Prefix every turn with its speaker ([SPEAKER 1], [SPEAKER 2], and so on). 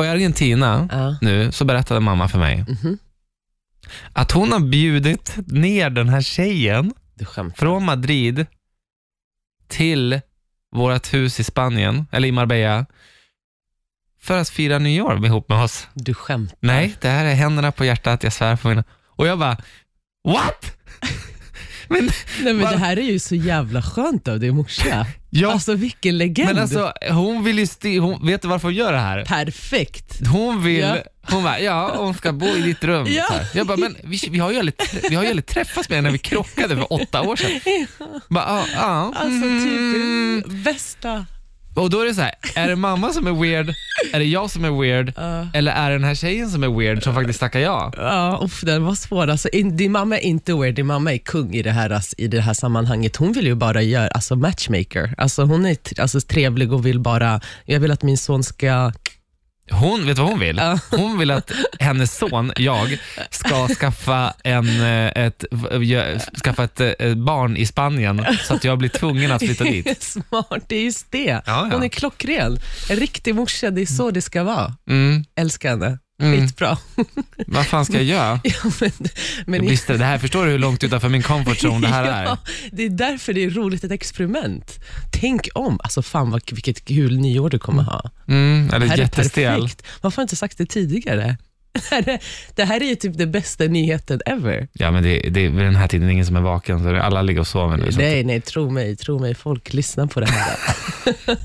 [SPEAKER 1] var i Argentina
[SPEAKER 2] Ja.
[SPEAKER 1] nu så berättade mamma för mig att hon har bjudit ner den här tjejen
[SPEAKER 2] Du skämtar.
[SPEAKER 1] från Madrid till vårt hus i Spanien, eller i Marbella, för att fira nyår ihop med oss.
[SPEAKER 2] Du skämtar.
[SPEAKER 1] Nej, det här är händerna på hjärtat, jag svär på mina... Och jag bara, what? men,
[SPEAKER 2] Nej, men
[SPEAKER 1] Va?
[SPEAKER 2] det här är ju så jävla skönt av din morsa.
[SPEAKER 1] ja,
[SPEAKER 2] Alltså vilken legend.
[SPEAKER 1] men alltså, hon vill ju... sti- Hon, vet du varför hon gör det här?
[SPEAKER 2] Perfekt.
[SPEAKER 1] Hon vill...
[SPEAKER 2] Ja.
[SPEAKER 1] Hon bara, ja, hon ska bo i ditt rum.
[SPEAKER 2] Ja.
[SPEAKER 1] Så här. Jag bara, men vi, vi har ju aldrig, trä- vi har ju aldrig träffats med när vi krockade för åtta år sedan. Bara, ja, ja.
[SPEAKER 2] Alltså
[SPEAKER 1] mm.
[SPEAKER 2] typ bästa.
[SPEAKER 1] Och då är det så här, är det mamma som är weird, är det jag som är weird,
[SPEAKER 2] Ja.
[SPEAKER 1] eller är det den här tjejen som är weird som faktiskt tackar ja?
[SPEAKER 2] Ja, uff, den var svår. Alltså, in, din mamma är inte weird, din mamma är kung i det här, ass- i det här sammanhanget. Hon vill ju bara göra, alltså matchmaker. Alltså, hon är t- alltså, trevlig och vill bara, jag vill att min son ska...
[SPEAKER 1] Hon, vet du vad hon vill?
[SPEAKER 2] Ja.
[SPEAKER 1] Hon vill att hennes son, jag, ska skaffa, en, eh, ett, v- gö- skaffa ett, eh, ett barn i Spanien så att jag blir tvungen att flytta dit.
[SPEAKER 2] Smart, det är just det.
[SPEAKER 1] ja.
[SPEAKER 2] Hon är klockren. En riktig morsa, det är så det ska vara.
[SPEAKER 1] Mm,
[SPEAKER 2] Älskar henne.
[SPEAKER 1] mm.
[SPEAKER 2] Skitbra.
[SPEAKER 1] Vad fan ska jag göra?
[SPEAKER 2] ja, men, men,
[SPEAKER 1] Jag blir stressad. det här, förstår du hur långt utanför min comfort zone det här är?
[SPEAKER 2] Ja, det är därför det är roligt ett experiment. Tänk om. Alltså fan vad, vilket kul nyår du kommer ha.
[SPEAKER 1] Mm, eller
[SPEAKER 2] Det här är
[SPEAKER 1] jättestel.
[SPEAKER 2] perfekt. Varför har jag inte sagt det tidigare? Det här är- Det här är ju typ den bästa nyheten ever.
[SPEAKER 1] Ja, men det, det är vid den här tiden ingen som är vaken, så typ- alla ligger och sover nu. Så att-
[SPEAKER 2] Nej, nej, tro mig, tro mig. Folk lyssnar på det här. nej,